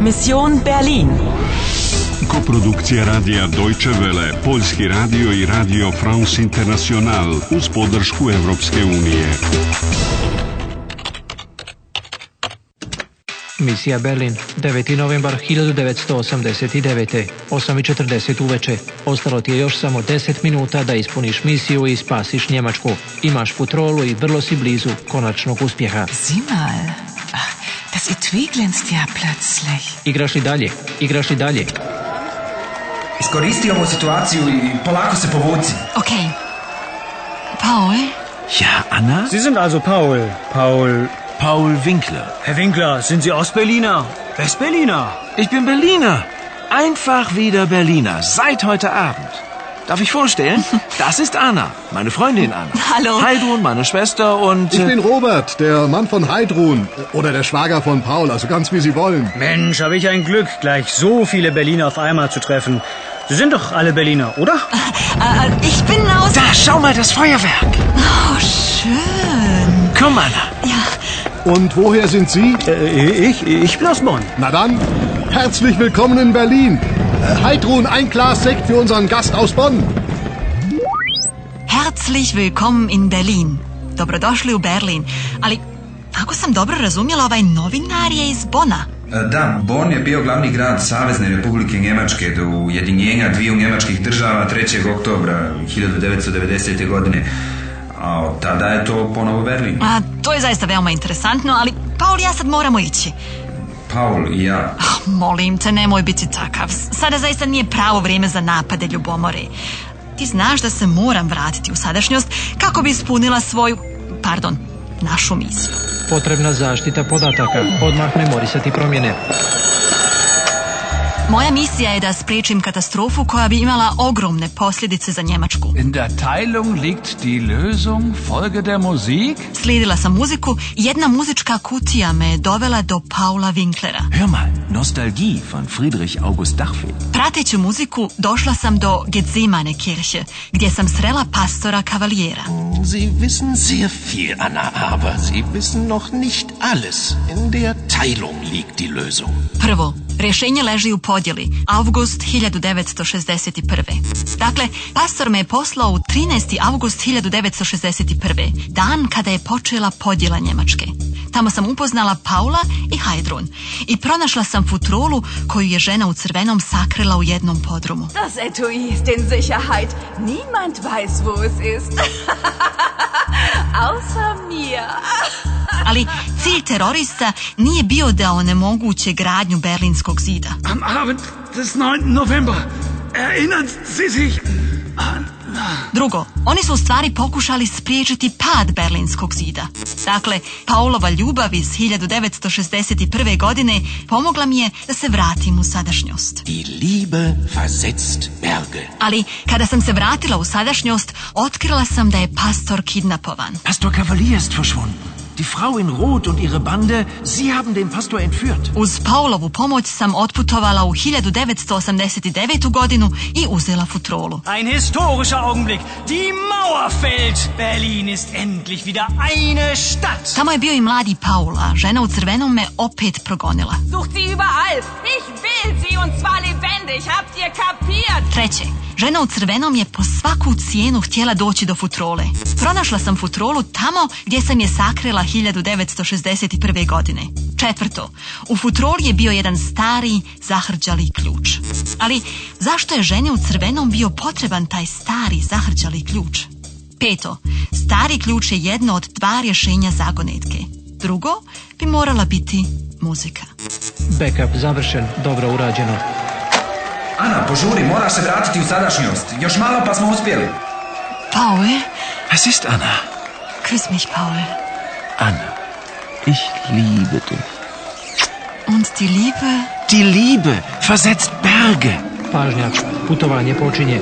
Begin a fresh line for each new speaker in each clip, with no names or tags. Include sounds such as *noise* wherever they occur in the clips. Mission Berlin.
Koprodukcija radija Deutsche Welle, Poljski radio i radio France International uz podršku Europske unije.
Misija Berlin, 9. novembar 1989. 8.40 uveče. Ostalo ti je još samo 10 minuta da ispuniš misiju i spasiš Njemačku. Imaš futrolu i vrlo si blizu konačnog uspjeha.
Sieh mal, Ach, das Etui glänzt ja plötzlich.
Igraš li dalje? Igraš li dalje?
Iskoristi ovu situaciju i polako se povuci. E,
Okay. Paul?
Ja, Anna?
Sie sind also Paul. Paul.
Paul Winkler.
Herr Winkler, sind Sie Ostberliner? Westberliner?
Ich bin Berliner. Einfach wieder Berliner. Seit heute Abend. Darf ich
*laughs*
vorstellen? Das ist Anna, meine Freundin Anna.
Hallo.
Heidrun, meine Schwester und...
Ich
äh,
bin Robert, der Mann von Heidrun. Oder der Schwager von Paul, also ganz wie Sie wollen.
Mensch, habe ich ein Glück, gleich so viele Berliner auf einmal zu treffen. Sie sind doch alle Berliner, oder?
Äh, äh, ich bin aus...
Da, schau mal das Feuerwerk.
Oh, schön.
Komm, Anna.
Und woher sind Sie?
Äh, ich, ich bin aus Bonn.
Na dann, herzlich willkommen in Berlin. Äh, Heidrun, ein Glas Sekt für unseren Gast aus Bonn.
Herzlich willkommen in Berlin. Dobrodošli u Berlin. Ali, ako sam dobro razumjela, ovaj novinar je iz Bona.
E, Da, Bonn je bio glavni grad Savezne republike Njemačke do ujedinjenja dviju njemačkih država 3. oktobra 1990. godine. A od tada je to ponovo Berlin.
A, to je zaista veoma interesantno, ali Paul i ja sad moramo ići.
Paul i ja.
Ah, molim te, nemoj biti takav. S- Sada zaista nije pravo vrijeme za napade ljubomore. Ti znaš da se moram vratiti u sadašnjost kako bi ispunila svoju, pardon, našu misiju.
Potrebna zaštita podataka. Odmah memorisati promjene.
Moja misija je da spriječim katastrofu koja bi imala ogromne posljedice za Njemačku.
In der Teilung liegt die Lösung. Folge der Musik.
Slijedila sam muziku i jedna muzička kutija me je dovela do Paula Winklera.
Hör mal, Nostalgie von Friedrich August Dachfeld.
Prateći muziku došla sam do Gedzimane kirche, gdje sam srela pastora kavalijera.
Sie wissen sehr viel, Anna, aber Sie wissen noch nicht alles. In der Teilung liegt die Lösung.
Prvo, rješenje leži u podjeli, avgust 1961. Dakle, pastor me je poslao u 13. avgust 1961. Dan kada je počela podjela Njemačke. Tamo sam upoznala Paula i Heidrun i pronašla sam futrolu koju je žena u crvenom sakrila u jednom podrumu.
Das Etui ist in Sicherheit. Niemand weiß, wo es ist. *laughs* Außer mir.
Ali cilj terorista nije bio da onemoguće gradnju Berlinskog zida.
Am Abend des 9. November. Erinnern Sie sich an...
Drugo, oni su u stvari pokušali spriječiti pad Berlinskog zida. Dakle, Paulova ljubav iz 1961. godine pomogla mi je da se vratim u sadašnjost.
Die Liebe versetzt Berge.
Ali, kada sam se vratila u sadašnjost, otkrila sam da je pastor kidnapovan.
Pastor Cavalier ist verschwunden. Die Frau in Rot und ihre Bande, sie haben den Pastor entführt.
Uz Paulovu pomoć sam otputovala u 1989. godinu i uzela futrolu.
Ein historischer Augenblick. Die Mauer fällt. Berlin ist endlich wieder eine Stadt.
Tamo je bio i mladi Paula, žena u crvenom me opet progonila.
Sucht sie überall. Ich will sie und zwar lebendig. Habt ihr kapiert?
Treće, žena u crvenom je po svaku cijenu htjela doći do futrole. Pronašla sam futrolu tamo gdje sam je sakrila 1961. godine. Četvrto, u futroli je bio jedan stari, zahrđali ključ. Ali zašto je žene u crvenom bio potreban taj stari, zahrđali ključ? Peto, stari ključ je jedno od dva rješenja zagonetke. Drugo, bi morala biti muzika.
Backup završen. Dobro urađeno.
Ana, požuri, moraš se vratiti u sadašnjost. Još malo pa smo uspjeli.
Paul,
Was ist, Anna?
küss mich Paul.
Anna, ich liebe dich.
Und die Liebe
Die Liebe versetzt Berge.
Pažnja. Putovanje počinje.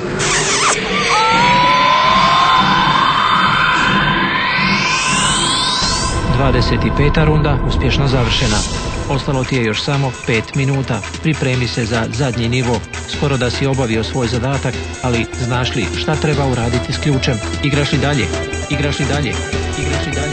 Dvadeset runda uspješno završena. Ostalo ti je još samo 5 minuta. Pripremi se za zadnji nivo. Skoro da si obavio svoj zadatak, ali znaš li šta treba uraditi s ključem? Igraš li dalje? Igraš li dalje? Igraš li dalje?